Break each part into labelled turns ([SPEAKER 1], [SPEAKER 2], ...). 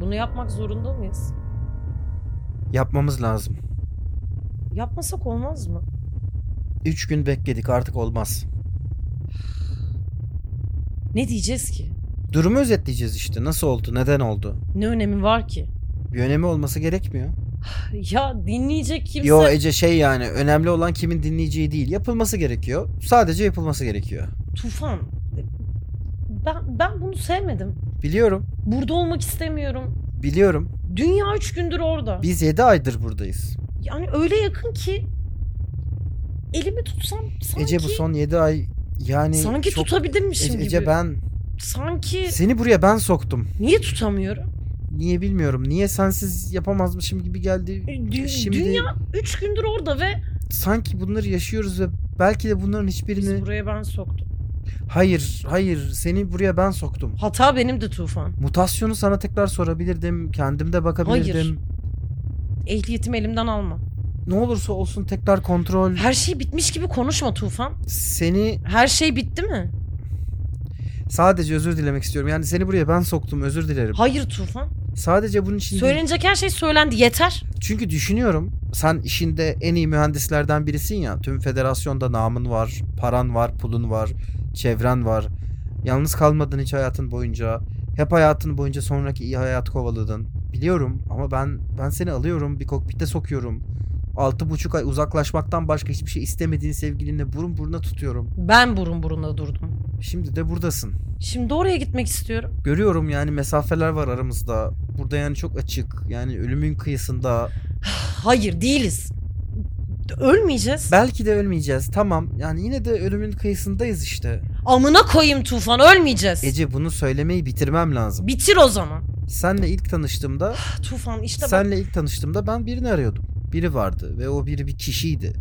[SPEAKER 1] Bunu yapmak zorunda mıyız?
[SPEAKER 2] Yapmamız lazım.
[SPEAKER 1] Yapmasak olmaz mı?
[SPEAKER 2] Üç gün bekledik artık olmaz.
[SPEAKER 1] Ne diyeceğiz ki?
[SPEAKER 2] Durumu özetleyeceğiz işte. Nasıl oldu? Neden oldu?
[SPEAKER 1] Ne önemi var ki?
[SPEAKER 2] Bir önemi olması gerekmiyor.
[SPEAKER 1] Ya dinleyecek kimse...
[SPEAKER 2] Yo Ece şey yani önemli olan kimin dinleyeceği değil. Yapılması gerekiyor. Sadece yapılması gerekiyor.
[SPEAKER 1] Tufan. Ben, ben bunu sevmedim.
[SPEAKER 2] Biliyorum.
[SPEAKER 1] Burada olmak istemiyorum.
[SPEAKER 2] Biliyorum.
[SPEAKER 1] Dünya üç gündür orada.
[SPEAKER 2] Biz 7 aydır buradayız.
[SPEAKER 1] Yani öyle yakın ki... Elimi tutsam sanki...
[SPEAKER 2] Ece bu son 7 ay yani
[SPEAKER 1] sanki
[SPEAKER 2] çok...
[SPEAKER 1] tutabilmişim
[SPEAKER 2] Ece,
[SPEAKER 1] gibi.
[SPEAKER 2] Ece ben
[SPEAKER 1] Sanki...
[SPEAKER 2] seni buraya ben soktum.
[SPEAKER 1] Niye tutamıyorum?
[SPEAKER 2] Niye bilmiyorum. Niye sensiz yapamazmışım gibi geldi.
[SPEAKER 1] E, Dü-
[SPEAKER 2] Şimdi
[SPEAKER 1] Dünya üç gündür orada ve...
[SPEAKER 2] sanki bunları yaşıyoruz ve belki de bunların hiçbirini...
[SPEAKER 1] Biz buraya ben soktum.
[SPEAKER 2] Hayır, hayır. Seni buraya ben soktum.
[SPEAKER 1] Hata benim de Tufan.
[SPEAKER 2] Mutasyonu sana tekrar sorabilirdim. Kendimde bakabilirdim.
[SPEAKER 1] Hayır. Ehliyetimi elimden alma.
[SPEAKER 2] Ne olursa olsun tekrar kontrol.
[SPEAKER 1] Her şey bitmiş gibi konuşma Tufan.
[SPEAKER 2] Seni
[SPEAKER 1] Her şey bitti mi?
[SPEAKER 2] sadece özür dilemek istiyorum. Yani seni buraya ben soktum. Özür dilerim.
[SPEAKER 1] Hayır Tufan.
[SPEAKER 2] Sadece bunun için değil.
[SPEAKER 1] Söylenecek her şey söylendi yeter.
[SPEAKER 2] Çünkü düşünüyorum. Sen işinde en iyi mühendislerden birisin ya. Tüm federasyonda namın var, paran var, pulun var, çevren var. Yalnız kalmadın hiç hayatın boyunca. Hep hayatın boyunca sonraki iyi hayat kovaladın. Biliyorum ama ben ben seni alıyorum, bir kokpite sokuyorum. Altı buçuk ay uzaklaşmaktan başka hiçbir şey istemediğin sevgilinle burun buruna tutuyorum.
[SPEAKER 1] Ben burun buruna durdum.
[SPEAKER 2] Şimdi de buradasın.
[SPEAKER 1] Şimdi oraya gitmek istiyorum.
[SPEAKER 2] Görüyorum yani mesafeler var aramızda. Burada yani çok açık. Yani ölümün kıyısında.
[SPEAKER 1] Hayır değiliz. Ölmeyeceğiz.
[SPEAKER 2] Belki de ölmeyeceğiz. Tamam. Yani yine de ölümün kıyısındayız işte.
[SPEAKER 1] Amına koyayım Tufan ölmeyeceğiz.
[SPEAKER 2] Ece bunu söylemeyi bitirmem lazım.
[SPEAKER 1] Bitir o zaman.
[SPEAKER 2] Senle ilk tanıştığımda,
[SPEAKER 1] Tufan Ah, işte bak.
[SPEAKER 2] senle ilk tanıştığımda ben birini arıyordum. Biri vardı ve o biri bir kişiydi.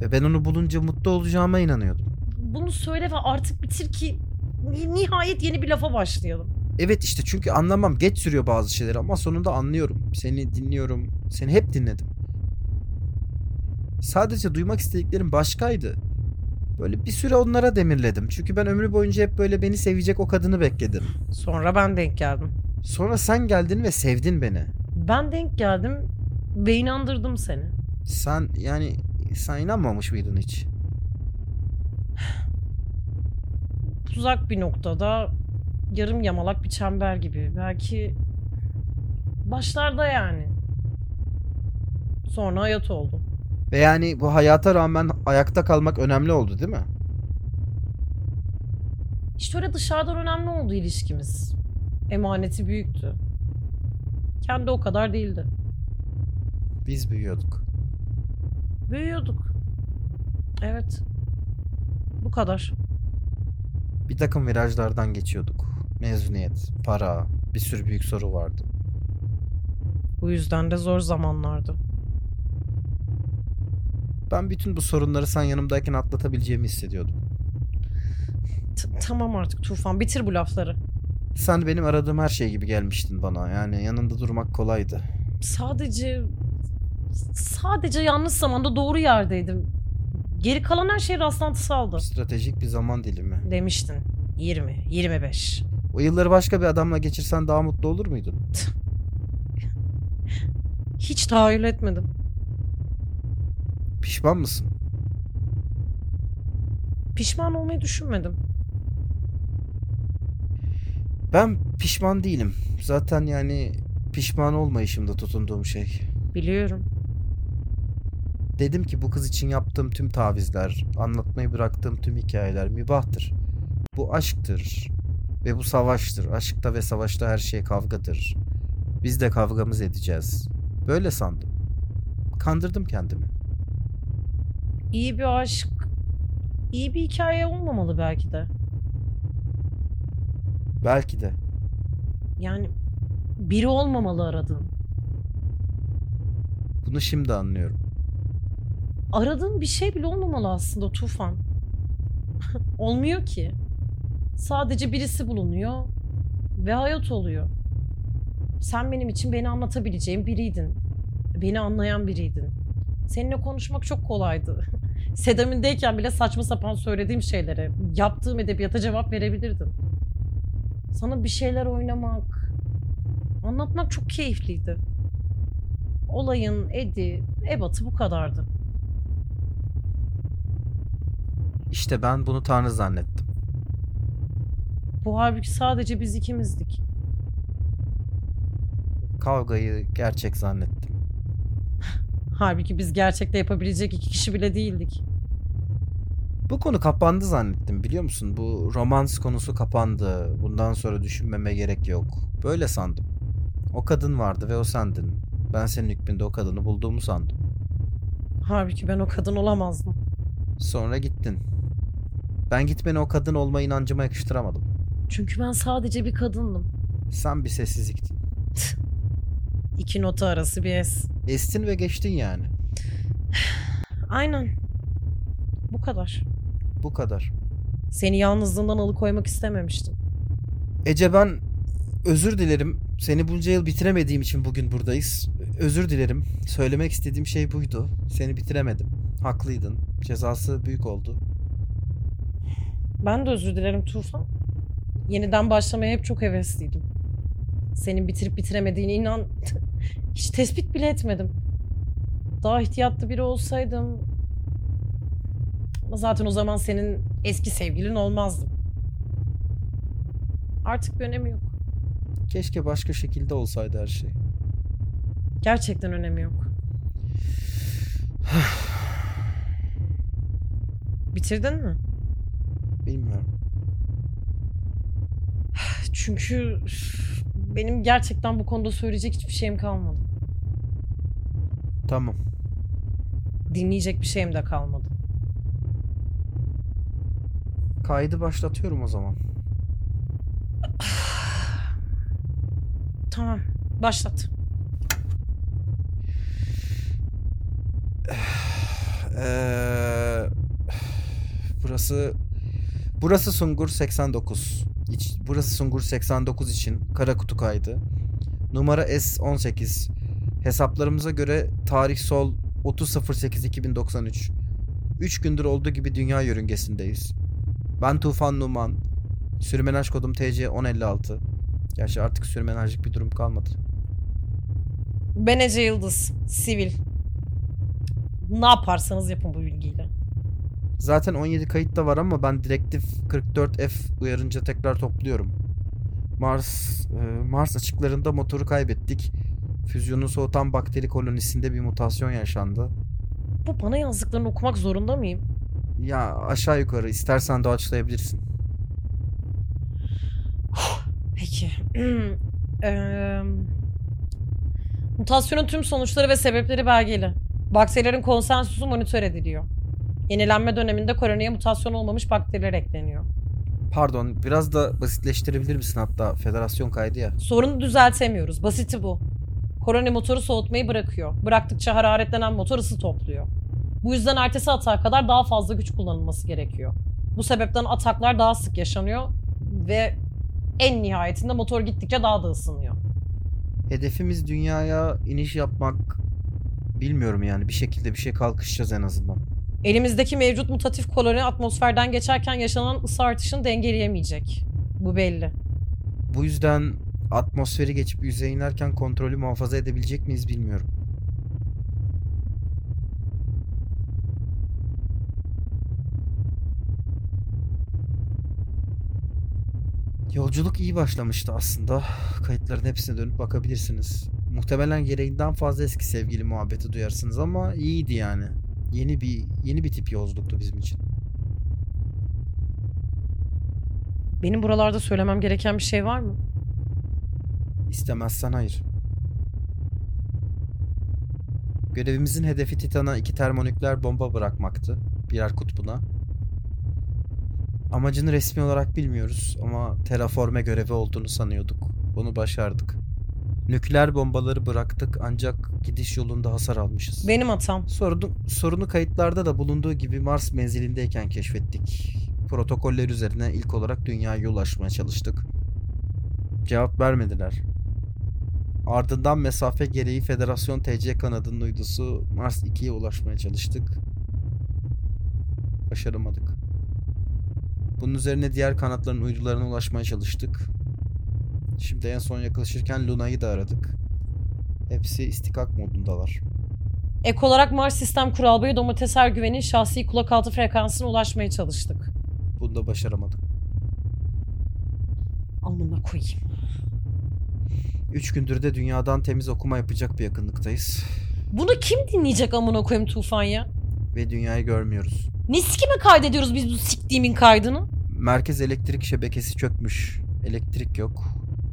[SPEAKER 2] Ve ben onu bulunca mutlu olacağıma inanıyordum.
[SPEAKER 1] Bunu söyle ve artık bitir ki ni- nihayet yeni bir lafa başlayalım.
[SPEAKER 2] Evet işte çünkü anlamam geç sürüyor bazı şeyleri ama sonunda anlıyorum. Seni dinliyorum. Seni hep dinledim. Sadece duymak istediklerim başkaydı. Böyle bir süre onlara demirledim. Çünkü ben ömrü boyunca hep böyle beni sevecek o kadını bekledim.
[SPEAKER 1] Sonra ben denk geldim.
[SPEAKER 2] Sonra sen geldin ve sevdin beni.
[SPEAKER 1] Ben denk geldim ve inandırdım seni.
[SPEAKER 2] Sen yani sen inanmamış mıydın hiç?
[SPEAKER 1] uzak bir noktada yarım yamalak bir çember gibi. Belki başlarda yani. Sonra hayat oldu.
[SPEAKER 2] Ve yani bu hayata rağmen ayakta kalmak önemli oldu değil mi?
[SPEAKER 1] İşte öyle dışarıdan önemli oldu ilişkimiz. Emaneti büyüktü. Kendi o kadar değildi.
[SPEAKER 2] Biz büyüyorduk.
[SPEAKER 1] Büyüyorduk. Evet. Bu kadar.
[SPEAKER 2] Bir takım virajlardan geçiyorduk. Mezuniyet, para, bir sürü büyük soru vardı.
[SPEAKER 1] Bu yüzden de zor zamanlardı.
[SPEAKER 2] Ben bütün bu sorunları sen yanımdayken atlatabileceğimi hissediyordum.
[SPEAKER 1] T- tamam artık Tufan bitir bu lafları.
[SPEAKER 2] Sen benim aradığım her şey gibi gelmiştin bana. Yani yanında durmak kolaydı.
[SPEAKER 1] sadece sadece yanlış zamanda doğru yerdeydim. Geri kalan her şey rastlantısaldı.
[SPEAKER 2] Stratejik bir zaman dilimi.
[SPEAKER 1] Demiştin. 20, 25.
[SPEAKER 2] O yılları başka bir adamla geçirsen daha mutlu olur muydun?
[SPEAKER 1] Hiç tahayyül etmedim.
[SPEAKER 2] Pişman mısın?
[SPEAKER 1] Pişman olmayı düşünmedim.
[SPEAKER 2] Ben pişman değilim. Zaten yani pişman olmayışımda tutunduğum şey.
[SPEAKER 1] Biliyorum.
[SPEAKER 2] Dedim ki bu kız için yaptığım tüm tavizler, anlatmayı bıraktığım tüm hikayeler mübahtır. Bu aşktır ve bu savaştır. Aşkta ve savaşta her şey kavgadır. Biz de kavgamız edeceğiz. Böyle sandım. Kandırdım kendimi.
[SPEAKER 1] İyi bir aşk, iyi bir hikaye olmamalı belki de.
[SPEAKER 2] Belki de.
[SPEAKER 1] Yani biri olmamalı aradığın.
[SPEAKER 2] Bunu şimdi anlıyorum.
[SPEAKER 1] Aradığın bir şey bile olmamalı aslında Tufan. Olmuyor ki. Sadece birisi bulunuyor ve hayat oluyor. Sen benim için beni anlatabileceğim biriydin. Beni anlayan biriydin. Seninle konuşmak çok kolaydı. Sedamindeyken bile saçma sapan söylediğim şeylere, yaptığım edebiyata cevap verebilirdim. Sana bir şeyler oynamak, Anlatmak çok keyifliydi. Olayın edi, ebatı bu kadardı.
[SPEAKER 2] İşte ben bunu Tanrı zannettim.
[SPEAKER 1] Bu halbuki sadece biz ikimizdik.
[SPEAKER 2] Kavgayı gerçek zannettim.
[SPEAKER 1] Halbuki biz gerçekte yapabilecek iki kişi bile değildik.
[SPEAKER 2] Bu konu kapandı zannettim biliyor musun? Bu romans konusu kapandı. Bundan sonra düşünmeme gerek yok. Böyle sandım. O kadın vardı ve o sendin. Ben senin hükmünde o kadını bulduğumu sandım.
[SPEAKER 1] Halbuki ben o kadın olamazdım.
[SPEAKER 2] Sonra gittin. Ben gitmeni o kadın olma inancıma yakıştıramadım.
[SPEAKER 1] Çünkü ben sadece bir kadındım.
[SPEAKER 2] Sen bir sessizliktin.
[SPEAKER 1] İki nota arası bir es.
[SPEAKER 2] Estin ve geçtin yani.
[SPEAKER 1] Aynen. Bu kadar.
[SPEAKER 2] Bu kadar.
[SPEAKER 1] Seni yalnızlığından alıkoymak istememiştim.
[SPEAKER 2] Ece ben özür dilerim. Seni bunca yıl bitiremediğim için bugün buradayız. Özür dilerim. Söylemek istediğim şey buydu. Seni bitiremedim. Haklıydın. Cezası büyük oldu.
[SPEAKER 1] Ben de özür dilerim Tufan. Yeniden başlamaya hep çok hevesliydim. Senin bitirip bitiremediğini inan hiç tespit bile etmedim. Daha ihtiyatlı biri olsaydım Ama zaten o zaman senin eski sevgilin olmazdım. Artık bir önemi yok.
[SPEAKER 2] Keşke başka şekilde olsaydı her şey.
[SPEAKER 1] Gerçekten önemi yok. Bitirdin mi?
[SPEAKER 2] Bilmiyorum.
[SPEAKER 1] Çünkü üf, benim gerçekten bu konuda söyleyecek hiçbir şeyim kalmadı.
[SPEAKER 2] Tamam.
[SPEAKER 1] Dinleyecek bir şeyim de kalmadı.
[SPEAKER 2] Kaydı başlatıyorum o zaman.
[SPEAKER 1] Tamam, başlat.
[SPEAKER 2] Eee, burası burası Sungur 89. İç- burası Sungur 89 için kara kutu kaydı. Numara S18. Hesaplarımıza göre tarih sol 30.08.2093. 3 gündür olduğu gibi dünya yörüngesindeyiz. Ben Tufan Numan. Sürmenaj kodum TC 1056. Gerçi artık sürmenajlık bir durum kalmadı.
[SPEAKER 1] Ben Ece Yıldız, sivil. Ne yaparsanız yapın bu bilgiyle.
[SPEAKER 2] Zaten 17 kayıt da var ama ben direktif 44F uyarınca tekrar topluyorum. Mars e, Mars açıklarında motoru kaybettik. Füzyonu soğutan bakteri kolonisinde bir mutasyon yaşandı.
[SPEAKER 1] Bu bana yazdıklarını okumak zorunda mıyım?
[SPEAKER 2] Ya aşağı yukarı istersen doğaçlayabilirsin.
[SPEAKER 1] Peki. Eee, Mutasyonun tüm sonuçları ve sebepleri belgeli. Bakterilerin konsensusu monitör ediliyor. Yenilenme döneminde koloniye mutasyon olmamış bakteriler ekleniyor.
[SPEAKER 2] Pardon, biraz da basitleştirebilir misin hatta federasyon kaydı ya.
[SPEAKER 1] Sorunu düzeltemiyoruz. Basiti bu. Koroni motoru soğutmayı bırakıyor. Bıraktıkça hararetlenen motor ısı topluyor. Bu yüzden ertesi atağa kadar daha fazla güç kullanılması gerekiyor. Bu sebepten ataklar daha sık yaşanıyor ve en nihayetinde motor gittikçe daha da ısınıyor.
[SPEAKER 2] Hedefimiz dünyaya iniş yapmak. Bilmiyorum yani bir şekilde bir şey kalkışacağız en azından.
[SPEAKER 1] Elimizdeki mevcut mutatif koloni atmosferden geçerken yaşanan ısı artışını dengeleyemeyecek. Bu belli.
[SPEAKER 2] Bu yüzden atmosferi geçip yüzeye inerken kontrolü muhafaza edebilecek miyiz bilmiyorum. Yolculuk iyi başlamıştı aslında. Kayıtların hepsine dönüp bakabilirsiniz. Muhtemelen gereğinden fazla eski sevgili muhabbeti duyarsınız ama iyiydi yani. Yeni bir yeni bir tip yolculuktu bizim için.
[SPEAKER 1] Benim buralarda söylemem gereken bir şey var mı?
[SPEAKER 2] İstemezsen hayır. Görevimizin hedefi Titan'a iki termonükleer bomba bırakmaktı. Birer kutbuna. Amacını resmi olarak bilmiyoruz ama terraforme görevi olduğunu sanıyorduk. Bunu başardık. Nükleer bombaları bıraktık ancak gidiş yolunda hasar almışız.
[SPEAKER 1] Benim hatam.
[SPEAKER 2] Sorunu, sorunu kayıtlarda da bulunduğu gibi Mars menzilindeyken keşfettik. Protokoller üzerine ilk olarak dünyaya ulaşmaya çalıştık. Cevap vermediler. Ardından mesafe gereği Federasyon TC kanadının uydusu Mars 2'ye ulaşmaya çalıştık. Başaramadık. Bunun üzerine diğer kanatların uydularına ulaşmaya çalıştık. Şimdi en son yaklaşırken Luna'yı da aradık. Hepsi istikak modundalar.
[SPEAKER 1] Ek olarak Mars Sistem Kural Bey Domates Ergüven'in şahsi kulakaltı frekansına ulaşmaya çalıştık.
[SPEAKER 2] Bunu da başaramadık.
[SPEAKER 1] Amına koyayım.
[SPEAKER 2] Üç gündür de dünyadan temiz okuma yapacak bir yakınlıktayız.
[SPEAKER 1] Bunu kim dinleyecek amına koyayım Tufan ya?
[SPEAKER 2] Ve dünyayı görmüyoruz.
[SPEAKER 1] Nesi kime kaydediyoruz biz bu siktiğimin kaydını?
[SPEAKER 2] Merkez elektrik şebekesi çökmüş. Elektrik yok.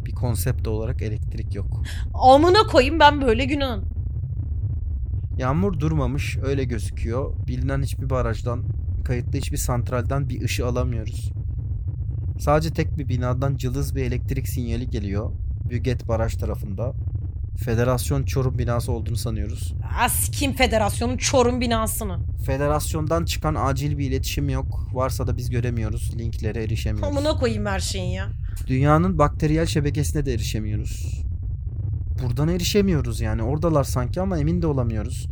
[SPEAKER 2] Bir konsept olarak elektrik yok.
[SPEAKER 1] Amına koyayım ben böyle günahım.
[SPEAKER 2] Yağmur durmamış öyle gözüküyor. Bilinen hiçbir barajdan, kayıtlı hiçbir santralden bir ışı alamıyoruz. Sadece tek bir binadan cılız bir elektrik sinyali geliyor. Büget Baraj tarafında. Federasyon Çorum binası olduğunu sanıyoruz.
[SPEAKER 1] Aa, sikeyim federasyonun Çorum binasını.
[SPEAKER 2] Federasyondan çıkan acil bir iletişim yok. Varsa da biz göremiyoruz. Linklere erişemiyoruz.
[SPEAKER 1] Amına koyayım her şeyin ya.
[SPEAKER 2] Dünyanın bakteriyel şebekesine de erişemiyoruz. Buradan erişemiyoruz yani. Oradalar sanki ama emin de olamıyoruz.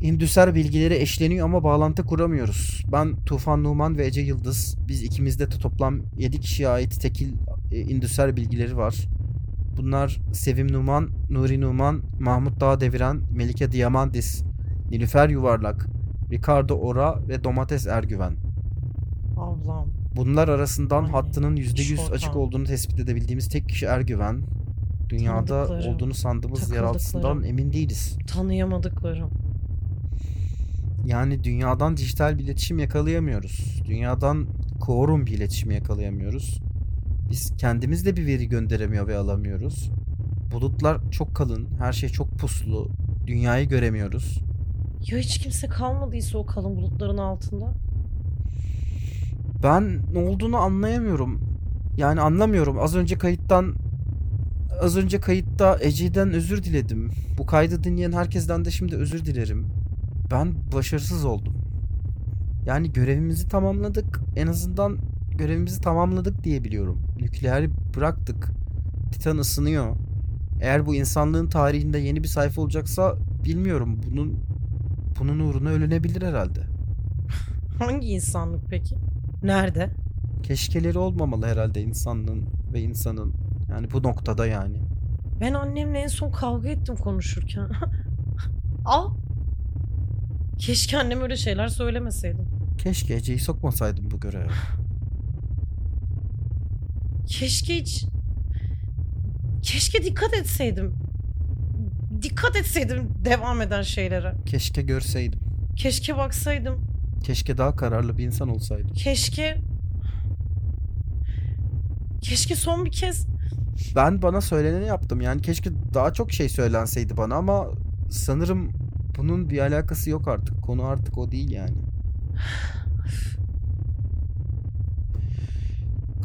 [SPEAKER 2] İndüser bilgileri eşleniyor ama bağlantı kuramıyoruz. Ben Tufan Numan ve Ece Yıldız. Biz ikimizde de toplam 7 kişiye ait tekil e, indüser bilgileri var. Bunlar Sevim Numan, Nuri Numan, Mahmut Dağdeviren, Melike Diamandis, Nilüfer Yuvarlak, Ricardo Ora ve Domates Ergüven.
[SPEAKER 1] Allah'ım.
[SPEAKER 2] Bunlar arasından
[SPEAKER 1] Ay,
[SPEAKER 2] hattının %100
[SPEAKER 1] şortan.
[SPEAKER 2] açık olduğunu tespit edebildiğimiz tek kişi Ergüven. Dünyada
[SPEAKER 1] Tanıdıklarım,
[SPEAKER 2] olduğunu sandığımız yeraltısından
[SPEAKER 1] takıldıklarım.
[SPEAKER 2] emin değiliz.
[SPEAKER 1] Tanıyamadıklarım.
[SPEAKER 2] Yani dünyadan dijital bir iletişim yakalayamıyoruz. Dünyadan quorum bir iletişimi yakalayamıyoruz. Biz kendimiz de bir veri gönderemiyor ve alamıyoruz. Bulutlar çok kalın, her şey çok puslu. Dünyayı göremiyoruz.
[SPEAKER 1] Ya hiç kimse kalmadıysa o kalın bulutların altında.
[SPEAKER 2] Ben ne olduğunu anlayamıyorum. Yani anlamıyorum. Az önce kayıttan az önce kayıtta Ece'den özür diledim. Bu kaydı dinleyen herkesten de şimdi özür dilerim. Ben başarısız oldum. Yani görevimizi tamamladık. En azından görevimizi tamamladık diye biliyorum. Nükleeri bıraktık. Titan ısınıyor. Eğer bu insanlığın tarihinde yeni bir sayfa olacaksa bilmiyorum. Bunun bunun uğruna ölünebilir herhalde.
[SPEAKER 1] Hangi insanlık peki? Nerede?
[SPEAKER 2] keşkeleri olmamalı herhalde insanlığın ve insanın. Yani bu noktada yani.
[SPEAKER 1] Ben annemle en son kavga ettim konuşurken. Al. Keşke annem öyle şeyler söylemeseydim.
[SPEAKER 2] Keşke Ece'yi sokmasaydım bu göreve.
[SPEAKER 1] Keşke hiç... Keşke dikkat etseydim. Dikkat etseydim devam eden şeylere.
[SPEAKER 2] Keşke görseydim.
[SPEAKER 1] Keşke baksaydım.
[SPEAKER 2] Keşke daha kararlı bir insan olsaydım.
[SPEAKER 1] Keşke... Keşke son bir kez...
[SPEAKER 2] Ben bana söyleneni yaptım. Yani keşke daha çok şey söylenseydi bana ama sanırım bunun bir alakası yok artık. Konu artık o değil yani.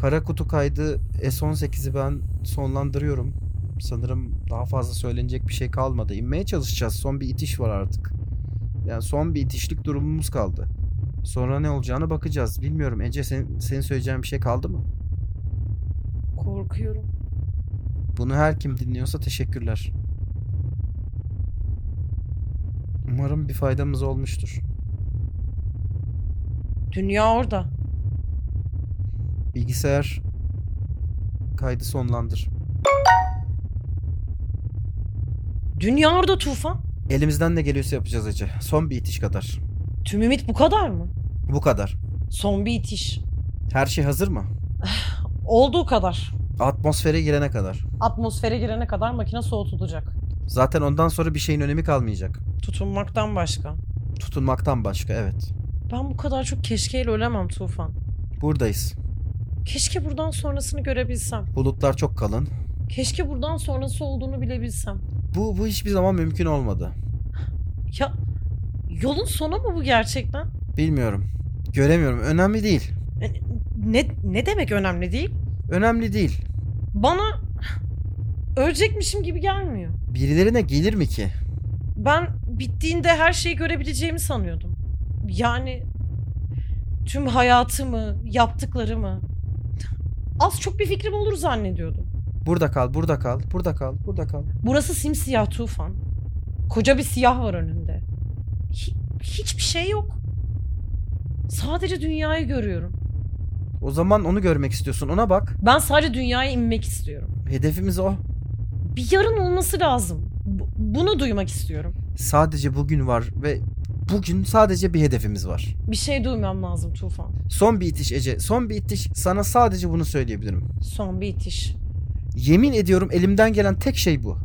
[SPEAKER 2] Kara kutu kaydı S18'i ben sonlandırıyorum. Sanırım daha fazla söylenecek bir şey kalmadı. İnmeye çalışacağız. Son bir itiş var artık. Yani son bir itişlik durumumuz kaldı. Sonra ne olacağına bakacağız. Bilmiyorum. Ece sen, senin söyleyeceğin bir şey kaldı mı?
[SPEAKER 1] Korkuyorum.
[SPEAKER 2] Bunu her kim dinliyorsa teşekkürler. Umarım bir faydamız olmuştur.
[SPEAKER 1] Dünya orada.
[SPEAKER 2] Bilgisayar kaydı sonlandır.
[SPEAKER 1] Dünya orada Tufan.
[SPEAKER 2] Elimizden ne geliyorsa yapacağız Ece. Son bir itiş kadar.
[SPEAKER 1] Tüm ümit bu kadar mı?
[SPEAKER 2] Bu kadar.
[SPEAKER 1] Son bir itiş.
[SPEAKER 2] Her şey hazır mı?
[SPEAKER 1] Olduğu kadar.
[SPEAKER 2] Atmosfere girene kadar.
[SPEAKER 1] Atmosfere girene kadar makine soğutulacak.
[SPEAKER 2] Zaten ondan sonra bir şeyin önemi kalmayacak.
[SPEAKER 1] Tutunmaktan başka.
[SPEAKER 2] Tutunmaktan başka evet.
[SPEAKER 1] Ben bu kadar çok keşkeyle ölemem Tufan.
[SPEAKER 2] Buradayız.
[SPEAKER 1] Keşke buradan sonrasını görebilsem.
[SPEAKER 2] Bulutlar çok kalın.
[SPEAKER 1] Keşke buradan sonrası olduğunu bilebilsem.
[SPEAKER 2] Bu, bu hiçbir zaman mümkün olmadı.
[SPEAKER 1] Ya yolun sonu mu bu gerçekten?
[SPEAKER 2] Bilmiyorum. Göremiyorum. Önemli değil.
[SPEAKER 1] Yani Ne, ne demek önemli değil?
[SPEAKER 2] Önemli değil.
[SPEAKER 1] Bana ölecekmişim gibi gelmiyor.
[SPEAKER 2] Birilerine gelir mi ki?
[SPEAKER 1] Ben bittiğinde her şeyi görebileceğimi sanıyordum. Yani tüm hayatımı, yaptıklarımı az çok bir fikrim olur zannediyordum.
[SPEAKER 2] Burada kal, burada kal, burada kal, burada kal.
[SPEAKER 1] Burası simsiyah tufan. Koca bir siyah var önümde. Hi- hiçbir şey yok. Sadece dünyayı görüyorum.
[SPEAKER 2] O zaman onu görmek istiyorsun. Ona bak.
[SPEAKER 1] Ben sadece dünyaya inmek istiyorum.
[SPEAKER 2] Hedefimiz o.
[SPEAKER 1] Bir yarın olması lazım. Bu- bunu duymak istiyorum.
[SPEAKER 2] Sadece bugün var ve bugün sadece bir hedefimiz var.
[SPEAKER 1] Bir şey duymam lazım Tufan.
[SPEAKER 2] Son bir itiş Ece. Son bir itiş. Sana sadece bunu söyleyebilirim.
[SPEAKER 1] Son bir itiş.
[SPEAKER 2] Yemin ediyorum elimden gelen tek şey bu.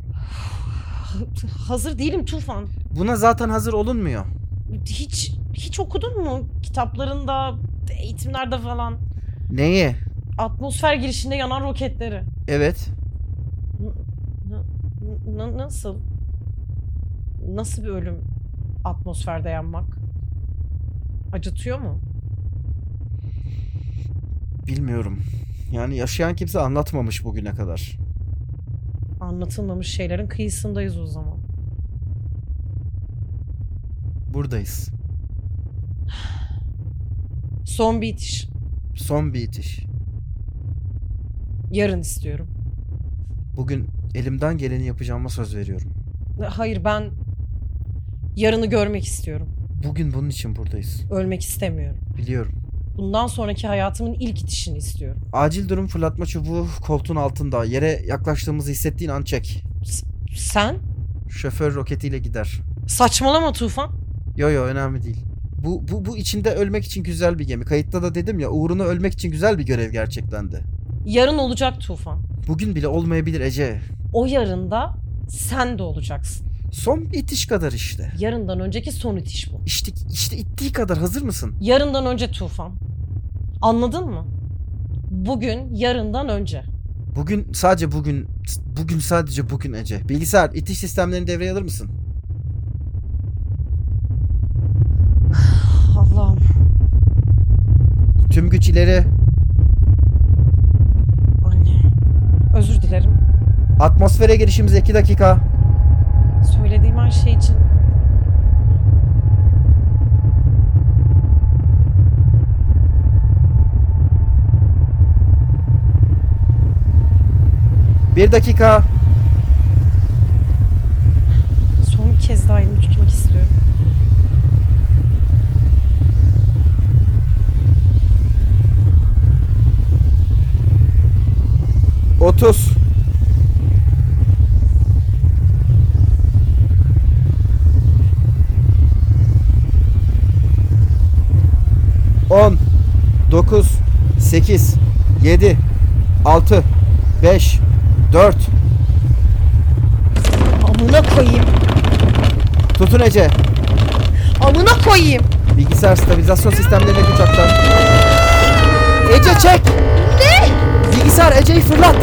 [SPEAKER 1] Hazır değilim Tufan.
[SPEAKER 2] Buna zaten hazır olunmuyor.
[SPEAKER 1] Hiç hiç okudun mu kitaplarında, eğitimlerde falan?
[SPEAKER 2] Neye?
[SPEAKER 1] Atmosfer girişinde yanan roketleri.
[SPEAKER 2] Evet.
[SPEAKER 1] N- n- n- nasıl? Nasıl bir ölüm atmosferde yanmak? Acıtıyor mu?
[SPEAKER 2] Bilmiyorum. Yani yaşayan kimse anlatmamış bugüne kadar.
[SPEAKER 1] Anlatılmamış şeylerin kıyısındayız o zaman.
[SPEAKER 2] Buradayız.
[SPEAKER 1] Son bir itiş.
[SPEAKER 2] Son bir itiş.
[SPEAKER 1] Yarın istiyorum.
[SPEAKER 2] Bugün elimden geleni yapacağıma söz veriyorum.
[SPEAKER 1] Hayır ben yarını görmek istiyorum.
[SPEAKER 2] Bugün bunun için buradayız.
[SPEAKER 1] Ölmek istemiyorum.
[SPEAKER 2] Biliyorum.
[SPEAKER 1] Bundan sonraki hayatımın ilk itişini istiyorum.
[SPEAKER 2] Acil durum fırlatma çubuğu koltuğun altında. Yere yaklaştığımızı hissettiğin an çek.
[SPEAKER 1] Sen?
[SPEAKER 2] Şoför roketiyle gider.
[SPEAKER 1] Saçmalama Tufan.
[SPEAKER 2] Yo yo önemli değil. Bu, bu, bu içinde ölmek için güzel bir gemi. Kayıtta da dedim ya uğruna ölmek için güzel bir görev gerçeklendi.
[SPEAKER 1] Yarın olacak Tufan.
[SPEAKER 2] Bugün bile olmayabilir Ece.
[SPEAKER 1] O yarında sen de olacaksın.
[SPEAKER 2] Son bir itiş kadar işte.
[SPEAKER 1] Yarından önceki son itiş bu.
[SPEAKER 2] İşte, işte ittiği kadar hazır mısın?
[SPEAKER 1] Yarından önce Tufan. Anladın mı? Bugün yarından önce.
[SPEAKER 2] Bugün sadece bugün, bugün sadece bugün Ece. Bilgisayar itiş sistemlerini devreye alır mısın?
[SPEAKER 1] Allah'ım.
[SPEAKER 2] Tüm güç ileri.
[SPEAKER 1] Anne. Özür dilerim.
[SPEAKER 2] Atmosfere girişimiz 2 dakika.
[SPEAKER 1] Söylediğim her şey için
[SPEAKER 2] Bir dakika.
[SPEAKER 1] son bir kez daha elini tutmak istiyorum.
[SPEAKER 2] Otuz. On. Dokuz. Sekiz. Yedi. Altı. Beş. Dört.
[SPEAKER 1] Amına koyayım.
[SPEAKER 2] Tutun Ece.
[SPEAKER 1] Amına koyayım.
[SPEAKER 2] Bilgisayar stabilizasyon sistemlerine güç aktar. Ece çek. Ne? Bilgisayar Ece'yi fırlat.